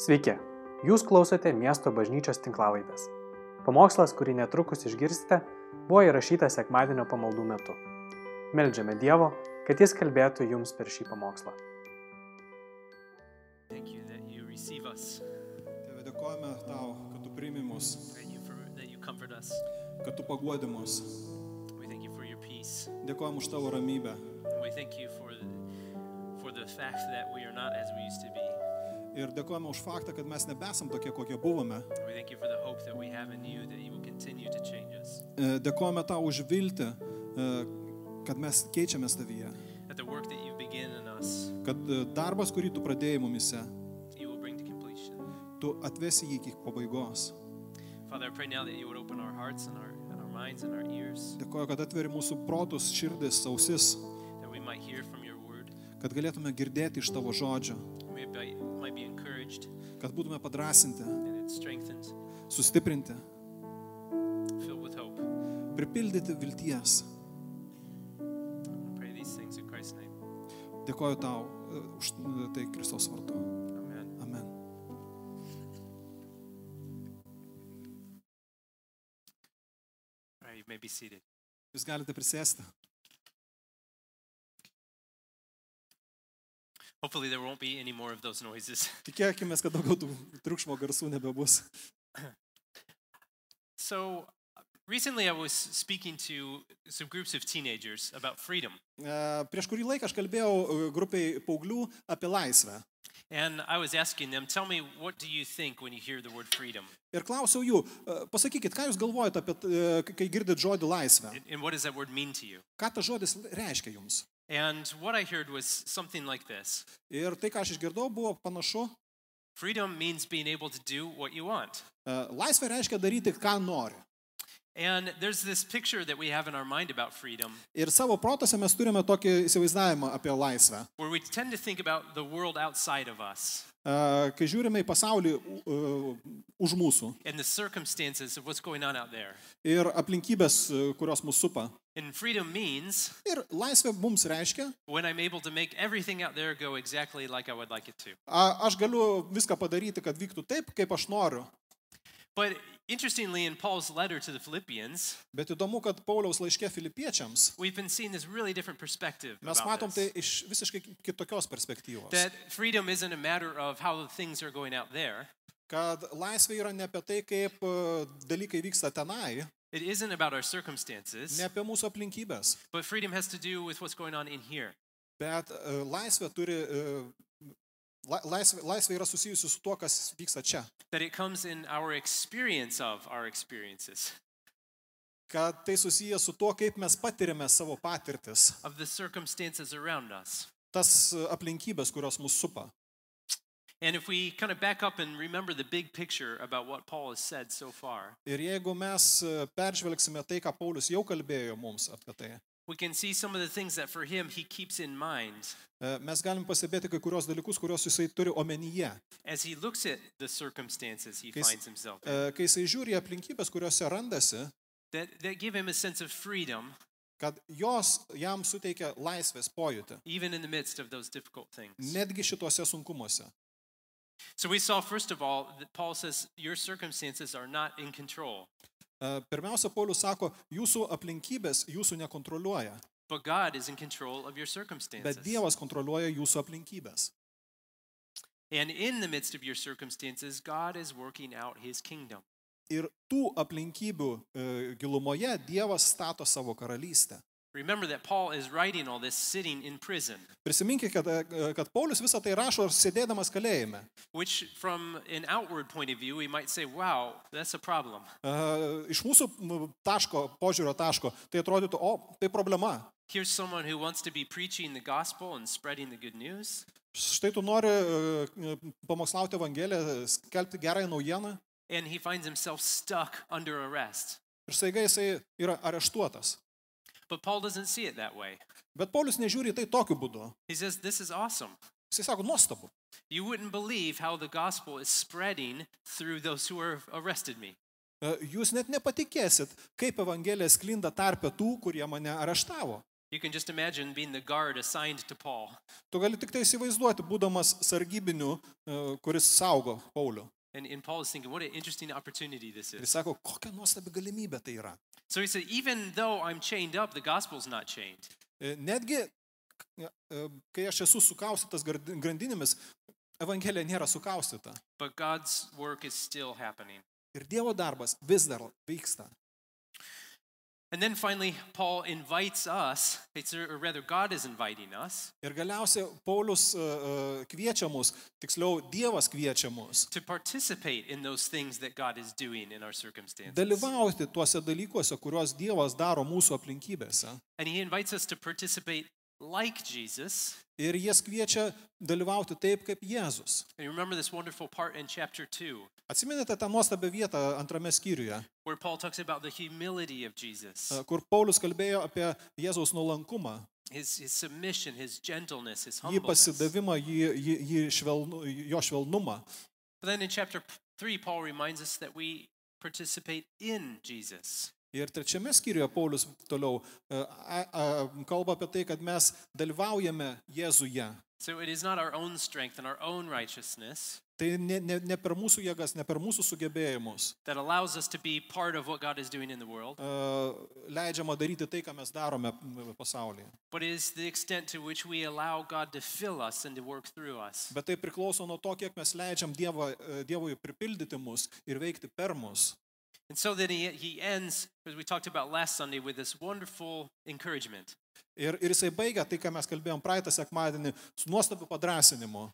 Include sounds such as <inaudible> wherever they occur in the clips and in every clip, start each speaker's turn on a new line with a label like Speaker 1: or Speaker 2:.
Speaker 1: Sveiki, jūs klausote miesto bažnyčios tinklavaitės. Pamokslas, kurį netrukus išgirsite, buvo įrašytas sekmadienio pamaldų metu. Meldžiame Dievo, kad Jis kalbėtų jums per šį pamokslą.
Speaker 2: Thank you that you receive us.
Speaker 3: Tėve, dėkojame tau, kad tu priimi mus,
Speaker 2: Thank you for that you comfort us.
Speaker 3: kad tu paguodi mus.
Speaker 2: We thank you for your peace.
Speaker 3: Dėkojame už tavo ramybę.
Speaker 2: And we thank you for for the fact that we are not as we used to be.
Speaker 3: Ir dėkojame už faktą, kad mes nebesam tokie, kokie buvome.
Speaker 2: And we thank you for the hope that we have in you that you will continue to change us.
Speaker 3: E, Dėkojame tau už viltį, e, kad mes keičiamės tavyje.
Speaker 2: That the work that you begin in us,
Speaker 3: Kad e, darbas, kurį tu pradėjai mumise,
Speaker 2: you will bring to completion.
Speaker 3: tu atvesi jį iki pabaigos.
Speaker 2: Father, I pray now that you would open our hearts and our and our minds and our ears
Speaker 3: Dėkoju, kad atveri mūsų protus, širdis, ausis,
Speaker 2: that we might hear from your word.
Speaker 3: kad galėtume girdėti iš tavo žodžio,
Speaker 2: We might might be encouraged
Speaker 3: kad būtume padrasinti,
Speaker 2: and it's strengthened,
Speaker 3: sustiprinti,
Speaker 2: filled with hope.
Speaker 3: pripildyti vilties.
Speaker 2: I pray these things in Christ's name.
Speaker 3: Dėkoju tau e, už e, tai Kristaus vardu.
Speaker 2: Amen.
Speaker 3: Amen.
Speaker 2: All right, you may be seated.
Speaker 3: Jūs galite prisėsti.
Speaker 2: Hopefully, there won't be any more of those noises. <laughs>
Speaker 3: Tikėkime, kad daugiau tų triukšmo garsų nebebus.
Speaker 2: So, uh, recently I was speaking to some groups of teenagers about freedom.
Speaker 3: E, Prieš kurį laiką aš kalbėjau e, grupiai paauglių apie laisvę.
Speaker 2: And I was asking them, tell me, what do you think when you hear the word freedom?
Speaker 3: Ir klausiau jų, e, pasakykit, ką jūs galvojate apie, t- e, k- kai girdit žodį laisvę?
Speaker 2: And- And what does that word mean to you?
Speaker 3: Ką tas žodis reiškia jums?
Speaker 2: And what I heard was something like this
Speaker 3: Ir tai, ką aš išgirdau, buvo panašu.
Speaker 2: Freedom means being able to do what you want.
Speaker 3: e, Laisvė reiškia daryti, ką nori.
Speaker 2: And there's this picture that we have in our mind about freedom
Speaker 3: Ir savo protose mes turime tokį įsivaizdavimą apie laisvę.
Speaker 2: where we tend to think about the world outside of us
Speaker 3: E, Kai žiūrime į pasaulį u- e, už mūsų
Speaker 2: and the circumstances of what's going on out there.
Speaker 3: ir aplinkybės, e, kurios mūsų supa.
Speaker 2: And freedom means
Speaker 3: Ir laisvė mums reiškia
Speaker 2: when I'm able to make everything out there go exactly like I would like it to.
Speaker 3: A, aš galiu viską padaryti, kad vyktų taip, kaip aš noriu.
Speaker 2: But interestingly, in Paul's letter to the Philippians,
Speaker 3: Bet įdomu, kad Pauliaus laiške filipiečiams
Speaker 2: we've been seeing this really different perspective.
Speaker 3: mes
Speaker 2: about
Speaker 3: matom tai
Speaker 2: this.
Speaker 3: iš visiškai kitokios perspektyvos.
Speaker 2: That freedom isn't a matter of how things are going out there.
Speaker 3: Kad laisvė yra ne apie tai, kaip e, dalykai vyksta tenai,
Speaker 2: It isn't about our circumstances,
Speaker 3: ne apie mūsų aplinkybės.
Speaker 2: but freedom has to do with what's going on in here.
Speaker 3: Bet e, laisvė turi... e, la- Laisvė, laisvė yra susijusi su tuo, kas vyksta čia.
Speaker 2: That it comes in our experience of our experiences,
Speaker 3: Kad tai susiję su tuo, kaip mes patiriame savo patirtis,
Speaker 2: of the circumstances around us.
Speaker 3: tas e, aplinkybės, kurios mus supa.
Speaker 2: And if we kind of back up and remember the big picture about what Paul has said so far,
Speaker 3: Ir jeigu mes e, peržvelgsime tai, ką Paulius jau kalbėjo mums apie tai,
Speaker 2: we can see some of the things that for him he keeps in mind
Speaker 3: e, mes galim pastebėti kai kurios dalykus, kuriuos jisai turi omenyje.
Speaker 2: as he looks at the circumstances he
Speaker 3: Yes.
Speaker 2: finds himself in,
Speaker 3: E, Kai jisai žiūri į aplinkybės, kuriuose randasi,
Speaker 2: that, that give him a sense of freedom
Speaker 3: kad jos jam suteikia laisvės pojūtį,
Speaker 2: even in the midst of those difficult things.
Speaker 3: netgi šituose sunkumuose.
Speaker 2: So we saw, first of all, that Paul says, Your circumstances are not in control,
Speaker 3: E, Pirmiausia, Paulius sako, jūsų aplinkybės jūsų nekontroliuoja,
Speaker 2: but God is in control of your
Speaker 3: bet
Speaker 2: circumstances.
Speaker 3: Dievas kontroliuoja jūsų aplinkybės.
Speaker 2: And in the midst of your circumstances, God is working out his kingdom.
Speaker 3: Ir tų aplinkybių e, gilumoje Dievas stato savo karalystę.
Speaker 2: Remember that Paul is writing all this sitting in prison,
Speaker 3: Prisiminkite, kad, e, kad Paulius visą tai rašo sėdėdamas kalėjime. E,
Speaker 2: which, from an outward point of view, we might say, Wow, that's a problem.
Speaker 3: E, Iš mūsų m, taško, požiūrio taško, tai atrodytų, o tai problema.
Speaker 2: Here's someone who wants to be preaching the gospel and spreading the good news,
Speaker 3: Štai tu nori e, pamokslauti Evangeliją, skelbti gerąją naujieną
Speaker 2: and he finds himself stuck under arrest.
Speaker 3: ir staiga jisai yra areštuotas.
Speaker 2: But Paul doesn't see it that way.
Speaker 3: Bet Paulius nežiūri į tai tokiu būdu.
Speaker 2: He says, This is awesome.
Speaker 3: Jisai sako, nuostabu.
Speaker 2: You wouldn't believe how the gospel is spreading through those who have arrested me.
Speaker 3: E, Jūs net nepatikėsit, kaip Evangelija sklinda tarpe tų, kurie mane areštavo.
Speaker 2: You can just imagine being the guard assigned to Paul.
Speaker 3: Tu gali tik tai įsivaizduoti, būdamas sargybiniu, e, kuris saugo Paulių.
Speaker 2: And, and Paul is thinking, what an interesting opportunity this
Speaker 3: Ir
Speaker 2: is.
Speaker 3: jis sako, kokia nuostabi galimybė tai yra.
Speaker 2: So he said, even though I'm chained up, the gospel's not chained.
Speaker 3: E, Netgi, e, e, kai aš esu sukaustytas gardi- grandinėmis, Evangelija nėra sukaustyta.
Speaker 2: But God's work is still happening.
Speaker 3: Ir Dievo darbas vis dar vyksta.
Speaker 2: And then finally, Paul invites us, it's, or rather, God is inviting us
Speaker 3: Ir galiausiai Paulius e, e, kviečia mus, tiksliau Dievas kviečia mus,
Speaker 2: to participate in those things that God is doing in our circumstances.
Speaker 3: dalyvauti tuose dalykuose, kuriuos Dievas daro mūsų aplinkybėse.
Speaker 2: And he invites us to participate like Jesus.
Speaker 3: Ir jis kviečia dalyvauti taip, kaip Jėzus.
Speaker 2: And you remember this wonderful part in chapter 2
Speaker 3: Atsimenate tą nuostabią vietą antrame skyriuje,
Speaker 2: where Paul talks about the humility of Jesus,
Speaker 3: e, kur Paulius kalbėjo apie Jėzaus nuolankumą,
Speaker 2: his, his submission, his gentleness, his
Speaker 3: jį
Speaker 2: humbleness. But
Speaker 3: pasidavimą, jį, jį, jį švelnu, jo švelnumą.
Speaker 2: then in chapter 3, Paul reminds us that we participate in Jesus.
Speaker 3: Ir trečiame skyriuje Paulius toliau e, a- a- kalba apie tai, kad mes dalyvaujame Jėzuje.
Speaker 2: So it is not our own strength and our own righteousness
Speaker 3: Tai ne, ne, ne per mūsų jėgas, ne per mūsų sugebėjimus
Speaker 2: that allows us to be part of what God is doing in the world,
Speaker 3: e, leidžiama daryti tai, ką mes darome m, pasaulyje.
Speaker 2: but it is the extent to which we allow God to fill us and to work through us.
Speaker 3: Bet tai priklauso nuo to, kiek mes leidžiam dievą, e, Dievui pripildyti mus ir veikti per mus.
Speaker 2: And so then he, he ends, as we talked about last Sunday, with this wonderful encouragement.
Speaker 3: Ir, ir jisai baigia tai, ką mes kalbėjom praeitą sekmadienį, su nuostabiu padrasinimu.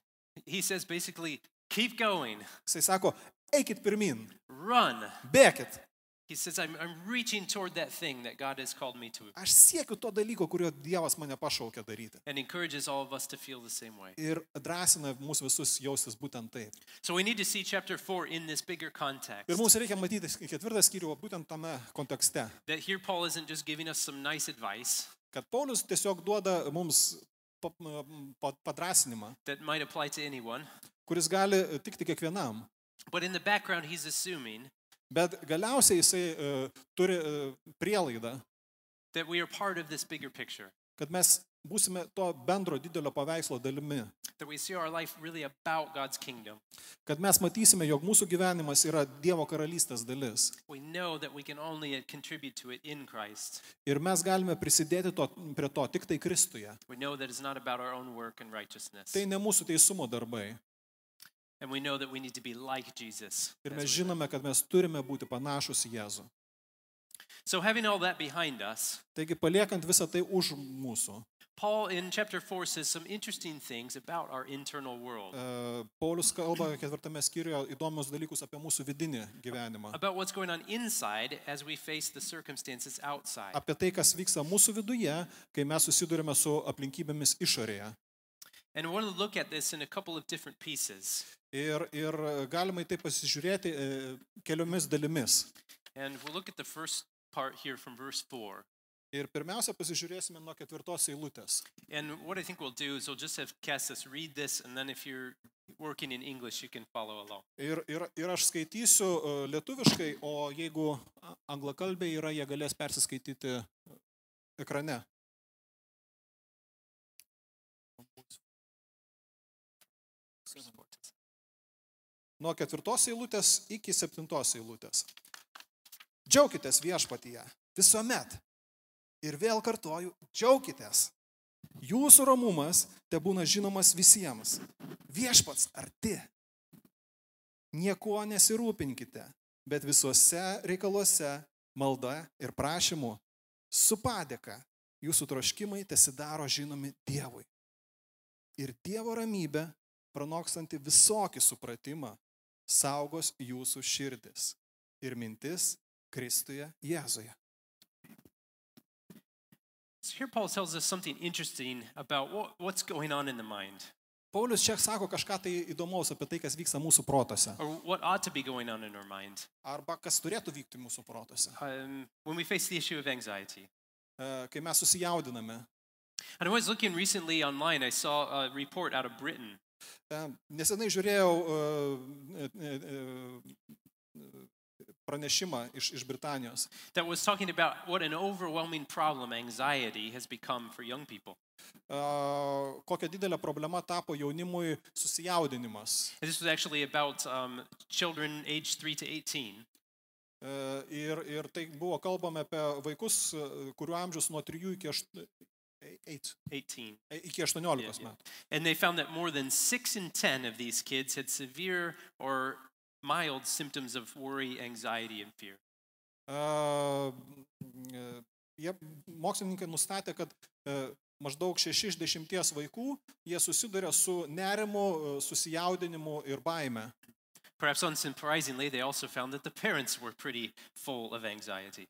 Speaker 2: He says basically, keep going,
Speaker 3: Jisai sako, eikit pirmin,
Speaker 2: run.
Speaker 3: bėkit.
Speaker 2: He says, I'm, I'm reaching toward that thing that God has called me to,
Speaker 3: Aš siekiu to dalyko, kurio Dievas mane pašaukė daryti.
Speaker 2: and encourages all of us to feel the same way.
Speaker 3: Ir drąsina mūsų visus jaustis būtent taip.
Speaker 2: So we need to see chapter four in this bigger context.
Speaker 3: Ir mums reikia matyti sk- ketvirtą skyrių va būtent tame kontekste.
Speaker 2: That here Paul isn't just giving us some nice advice
Speaker 3: Kad Paulius tiesiog duoda mums pa- m, pa- padrasinimą,
Speaker 2: that might apply to anyone,
Speaker 3: kuris gali tikti kiekvienam.
Speaker 2: but in the background, he's assuming
Speaker 3: Bet galiausiai jisai e, turi e, prielaidą,
Speaker 2: that we are part of this bigger picture,
Speaker 3: kad mes būsime to bendro didelio paveikslo dalimi.
Speaker 2: that we see our life really about God's kingdom.
Speaker 3: kad mes matysime, jog mūsų gyvenimas yra Dievo karalystės dalis.
Speaker 2: We know that we can only uh, contribute to it in Christ.
Speaker 3: Ir mes galime prisidėti to, prie to tik tai Kristuje.
Speaker 2: We know that it's not about our own work and righteousness.
Speaker 3: Tai ne mūsų teisumo darbai.
Speaker 2: And we know that we need to be like Jesus.
Speaker 3: Ir
Speaker 2: as
Speaker 3: mes
Speaker 2: we live.
Speaker 3: žinome, kad mes turime būti panašus į Jėzų.
Speaker 2: So, having all that behind us,
Speaker 3: Taigi paliekant visą tai už mūsų,
Speaker 2: Paul in chapter 4 says some interesting things about our internal world,
Speaker 3: e, Paulius kalba ketvirtame skyriuje įdomius dalykus apie mūsų vidinį gyvenimą.
Speaker 2: about what's going on inside as we face the circumstances outside.
Speaker 3: Apie tai, kas vyksta mūsų viduje, kai mes susidurime su aplinkybėmis išorėje.
Speaker 2: And I want to look at this in a couple of different pieces.
Speaker 3: Ir, ir galima į tai pasižiūrėti e, keliomis dalimis.
Speaker 2: And we'll look at the first part here from verse 4.
Speaker 3: Ir pirmiausia, pasižiūrėsime nuo ketvirtos eilutės.
Speaker 2: And what I think we'll do is we'll just have Cassis read this, and then if you're working in English, you can follow along.
Speaker 3: Ir, ir, ir aš skaitysiu e, lietuviškai, o jeigu a- anglakalbiai yra, jie galės persiskaityti e, ekrane. Nuo ketvirtos eilutės iki septintos eilutės. Džiaukitės viešpatyje visuomet. Ir vėl kartoju, džiaukitės. Jūsų romumas te būna žinomas visiems. Viešpats arti. Niekuo nesirūpinkite, bet visuose reikaluose, malda ir prašymu, su padėka, jūsų troškimai tesidaro žinomi Dievui. Ir Dievo ramybė, pranokstanti visokį supratimą, saugos jūsų širdis ir mintis Kristuje Jėzuje.
Speaker 2: So here Paul tells us something interesting about what, what's going on in the mind,
Speaker 3: Paulius čia sako kažką tai įdomaus apie tai, kas vyksta mūsų protose.
Speaker 2: or what ought to be going on in our mind
Speaker 3: Arba kas turėtų vykti mūsų protose,
Speaker 2: um, when we face the issue of anxiety.
Speaker 3: e, kai mes susijaudiname.
Speaker 2: And I was looking recently online, I saw a report out of Britain
Speaker 3: E, Nesenai žiūrėjau e, e, e, e, pranešimą iš, iš Britanijos.
Speaker 2: that was talking about what an overwhelming problem anxiety has become for young people.
Speaker 3: A, E, Kokia didelė problema tapo jaunimui susijaudinimas.
Speaker 2: And this was actually about um, children aged 3 to 18.
Speaker 3: E, Ir, ir tai buvo kalbama apie vaikus, e, kurių amžius nuo 3 iki, ašt... e- eit-
Speaker 2: 18.
Speaker 3: e- iki 18
Speaker 2: Yeah, yeah.
Speaker 3: metų.
Speaker 2: And they found that more than 6 in 10 of these kids had severe or mild symptoms of worry, anxiety, and fear.
Speaker 3: A, e, Jie mokslininkai nustatė, kad e, maždaug 6 iš 10 vaikų jie susiduria su nerimu, e, susijaudinimu ir baime.
Speaker 2: Perhaps unsurprisingly, they also found that the parents were pretty full of anxiety.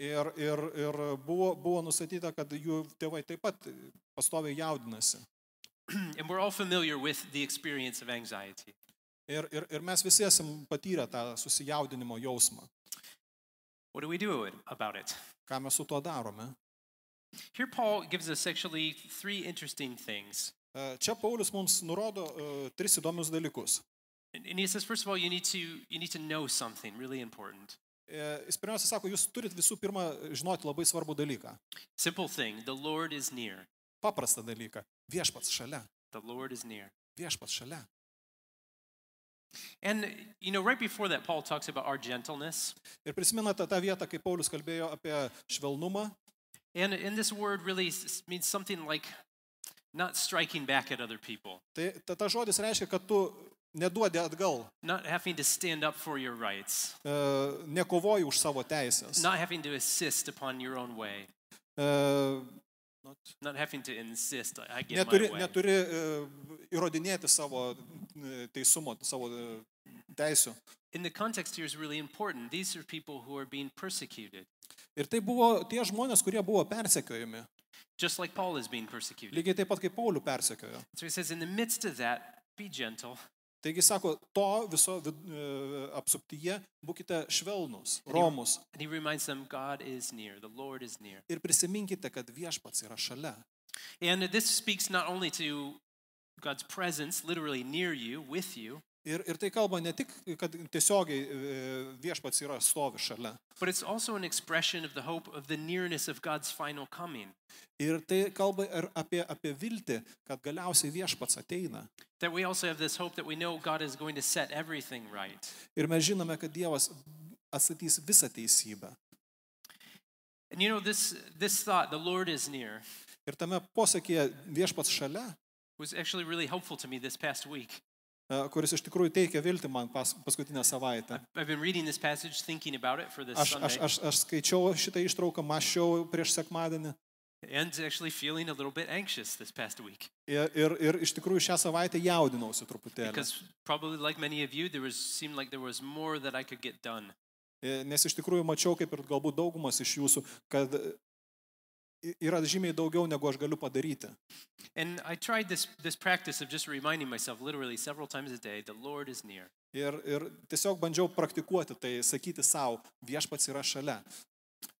Speaker 3: Ir, ir, ir buvo, buvo nustatyta, kad jų tėvai taip pat pastoviai jaudinasi.
Speaker 2: Mm, and we're all familiar with the experience of anxiety.
Speaker 3: Ir, ir, ir mes visi esam patyrę tą susijaudinimo jausmą.
Speaker 2: What do we do it- about it?
Speaker 3: Ką mes su tuo darome?
Speaker 2: Here, Paul gives us actually three interesting things.
Speaker 3: E, Čia Paulius mums nurodo e, tris įdomius dalykus.
Speaker 2: And and he says, first of all, you need to, you need to know something really important.
Speaker 3: E, Jis pirmiausia sako, jūs turit visų pirma žinoti labai svarbų dalyką.
Speaker 2: Simple thing the Lord is near.
Speaker 3: Paprastą dalyką. Viešpats šalia.
Speaker 2: The Lord is near.
Speaker 3: Viešpats šalia.
Speaker 2: And, you know, right before that, Paul talks about our gentleness.
Speaker 3: Ir prisimenate tą vietą, kai Paulius kalbėjo apie švelnumą.
Speaker 2: And, and this word really s- means something like not striking back at other people,
Speaker 3: Tai ta, ta žodis reiškia, kad tu neduodi atgal,
Speaker 2: not having to stand up for your rights,
Speaker 3: e, nekovoji už savo teisės.
Speaker 2: not having to insist upon your own way,
Speaker 3: E,
Speaker 2: not having to insist, "I- I get
Speaker 3: neturi,
Speaker 2: my way.
Speaker 3: neturi e, įrodinėti savo e, teisumo, savo e, teisų.
Speaker 2: In the context here is really important. These are people who are being persecuted,
Speaker 3: Ir tai buvo tie žmonės, kurie buvo persekiojami.
Speaker 2: just like Paul is being persecuted.
Speaker 3: Lygiai taip pat kaip Paulių persekiojo.
Speaker 2: So he says, in the midst of that, be gentle.
Speaker 3: Taigi sako, to viso vid, e, apsuptyje būkite švelnus, romus.
Speaker 2: And he reminds them, God is near, the Lord is near.
Speaker 3: Ir prisiminkite, kad viešpats yra šalia.
Speaker 2: And this speaks not only to God's presence, literally near you, with you,
Speaker 3: Ir, ir tai kalba ne tik, kad tiesiogiai e, viešpats yra stovi šalia.
Speaker 2: but it's also an expression of the hope of the nearness of God's final coming.
Speaker 3: Ir tai kalba ir apie, apie viltį, kad galiausiai viešpats ateina.
Speaker 2: That we also have this hope that we know God is going to set everything right.
Speaker 3: Ir mes žinome, kad Dievas atstatys visą teisybę.
Speaker 2: And you know, this, this thought, the Lord is near,
Speaker 3: Ir tame posakėje viešpats šalia,
Speaker 2: was actually really helpful to me this past week.
Speaker 3: e, kuris iš tikrųjų teikia viltį man pas, paskutinę savaitę.
Speaker 2: I've been reading this passage, thinking about it for this
Speaker 3: Aš,
Speaker 2: Sunday,
Speaker 3: aš, aš, aš skaičiau šitą ištrauką, mašiau prieš sekmadienį.
Speaker 2: and actually feeling a little bit anxious this past week
Speaker 3: Ir, ir, ir iš tikrųjų šią savaitę jaudinausi truputėlį.
Speaker 2: because probably, like many of you, there was seemed like there was more that I could get done.
Speaker 3: E, Nes iš tikrųjų mačiau, kaip ir galbūt daugumas iš jūsų, kad e, yra žymiai daugiau, negu aš galiu padaryti.
Speaker 2: And I tried this this practice of just reminding myself, literally several times a day, the Lord is near.
Speaker 3: Ir, ir tiesiog bandžiau praktikuoti tai, sakyti savo, viešpats yra šalia.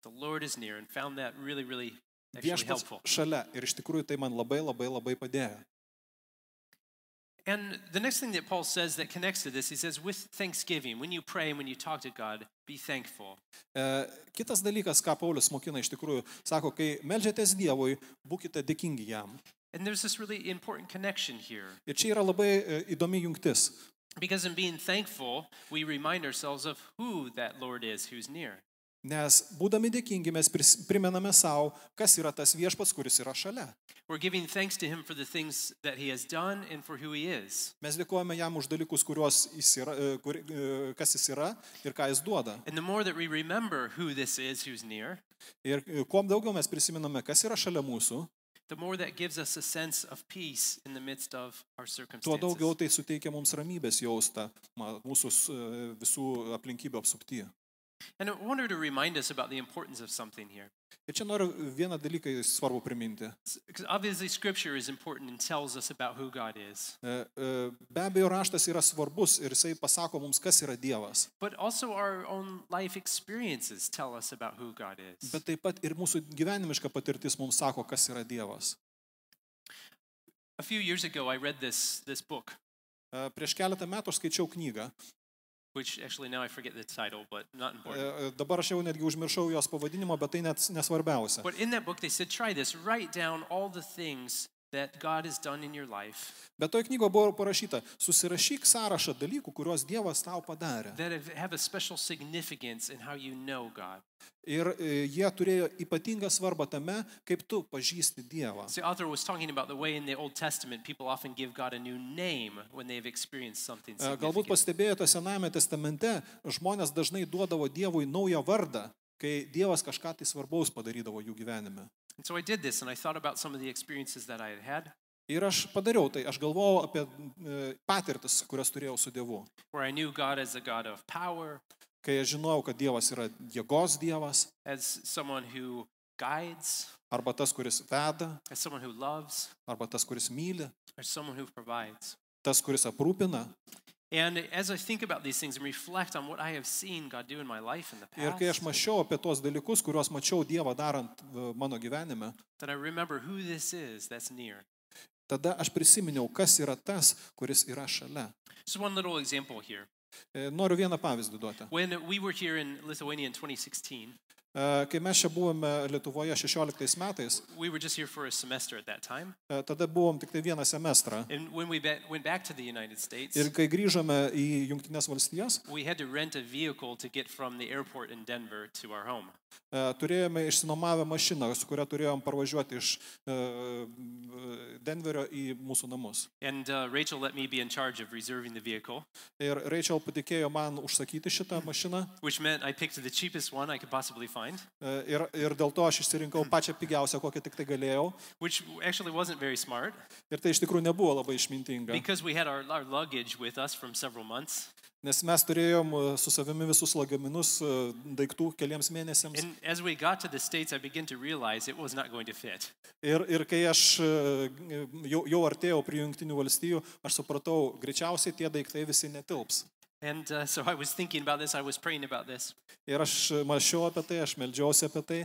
Speaker 2: The Lord is near, and found that really, really actually
Speaker 3: Viešpats
Speaker 2: helpful.
Speaker 3: šalia. Ir iš tikrųjų tai man labai labai labai padėjo.
Speaker 2: And the next thing that Paul says that connects to this, he says, with thanksgiving, when you pray and when you talk to God, be thankful.
Speaker 3: E, Kitas dalykas, ką Paulius mokina iš tikrųjų, sako, kai melžiatės Dievui, būkite dėkingi jam.
Speaker 2: And there's this really important connection here.
Speaker 3: Ir čia yra labai e, įdomi jungtis,
Speaker 2: Because in being thankful, we remind ourselves of who that Lord is who's near.
Speaker 3: nes būdami dėkingi mes pris- primename savo, kas yra tas viešpats, kuris yra šalia.
Speaker 2: We're giving thanks to Him for the things that He has done and for who He is.
Speaker 3: Mes dėkojame jam už dalykus, kuriuos jis yra, e, kur, e, kas jis yra ir ką jis duoda.
Speaker 2: And the more that we remember who this is who's near,
Speaker 3: Ir e, kuo daugiau mes prisimename, kas yra šalia mūsų,
Speaker 2: the more that gives us a sense of peace in the midst of our
Speaker 3: tuo daugiau
Speaker 2: circumstances.
Speaker 3: tai suteikia mums ramybės jaustą ma- mūsų s- e, visų aplinkybių apsuptyje.
Speaker 2: And I wanted to remind us about the importance of something here.
Speaker 3: Ir čia noriu vieną dalyką svarbu priminti.
Speaker 2: Because obviously, Scripture is important and tells us about who God is.
Speaker 3: E, e, Be abejo, raštas yra svarbus ir jisai pasako mums, kas yra Dievas.
Speaker 2: But also, our own life experiences tell us about who God is.
Speaker 3: Bet taip pat ir mūsų gyvenimiška patirtis mums sako, kas yra Dievas.
Speaker 2: A few years ago, I read this, this book
Speaker 3: E, Prieš keletą metų aš skaičiau knygą
Speaker 2: which actually now I forget the title, but not important.
Speaker 3: E, e, Dabar aš jau netgi užmiršau jos pavadinimą, bet tai net nesvarbiausia.
Speaker 2: But in that book, they said, try this, write down all the things that God has done in your life
Speaker 3: Bet toje knygoje buvo parašyta, susirašyk sąrašą dalykų, kuriuos Dievas tau padarė.
Speaker 2: that have- have a special significance in how you know God.
Speaker 3: Ir e, jie turėjo ypatingą svarbą tame, kaip tu pažįsti Dievą.
Speaker 2: So the author was talking about the way in the Old Testament people often give God a new name when they've experienced something
Speaker 3: E, Galbūt
Speaker 2: significant.
Speaker 3: pastebėjote Senajame testamente, žmonės dažnai duodavo Dievui naują vardą, kai Dievas kažką tai svarbaus padarydavo jų gyvenime.
Speaker 2: And so I did this, and I thought about some of the experiences that I had had,
Speaker 3: Ir aš padariau tai, aš galvojau apie e, patirtis, kurias turėjau su Dievu.
Speaker 2: where I knew God as a God of power,
Speaker 3: Kai aš žinojau, kad Dievas yra jėgos Dievas,
Speaker 2: as someone who guides,
Speaker 3: arba tas, kuris veda,
Speaker 2: as someone who loves,
Speaker 3: arba tas, kuris myli,
Speaker 2: as someone who provides.
Speaker 3: tas, kuris aprūpina.
Speaker 2: And as I think about these things and reflect on what I have seen God do in my life in the
Speaker 3: Ir kai aš
Speaker 2: past,
Speaker 3: mačiau apie tos dalykus, kuriuos mačiau Dievą darant e, mano gyvenime,
Speaker 2: then I remember who this is that's near.
Speaker 3: tada aš prisiminiau, kas yra tas, kuris yra šalia.
Speaker 2: Just one little example here.
Speaker 3: E, Noriu vieną pavyzdį duoti.
Speaker 2: When we were here in Lithuania in 2016,
Speaker 3: E, Kai mes čia buvome Lietuvoje 16 metais,
Speaker 2: we were just here for a semester at that time.
Speaker 3: e, tada buvom tik tai vieną semestrą.
Speaker 2: And when we be- went back to the United States,
Speaker 3: Ir kai grįžome į Junktinės valstijas,
Speaker 2: we had to rent a vehicle to get from the airport in Denver to our home.
Speaker 3: e, turėjome išsinomavę mašiną, su kuria turėjom parvažiuoti iš e, m, Denverio į mūsų namus.
Speaker 2: And uh, Rachel let me be in charge of reserving the vehicle,
Speaker 3: Ir Rachel patikėjo man užsakyti šitą mašiną
Speaker 2: which meant I picked the cheapest one I could possibly find,
Speaker 3: e, ir, ir dėl to aš išsirinkau pačią pigiausią, kokią tik tai galėjau.
Speaker 2: which actually wasn't very smart
Speaker 3: Ir tai iš tikrųjų nebuvo labai išmintinga,
Speaker 2: because we had our, our luggage with us from several months.
Speaker 3: nes mes turėjom e, su savimi visus lagaminus e, daiktų keliams mėnesiams.
Speaker 2: And as we got to the States, I began to realize it was not going to fit.
Speaker 3: Ir, ir kai aš e, jau, jau artėjau prie Junktinių valstijų, aš supratau, greičiausiai tie daiktai visi netilps.
Speaker 2: And uh, so I was thinking about this, I was praying about this.
Speaker 3: Ir aš mašiau apie tai, aš meldžiausi apie tai.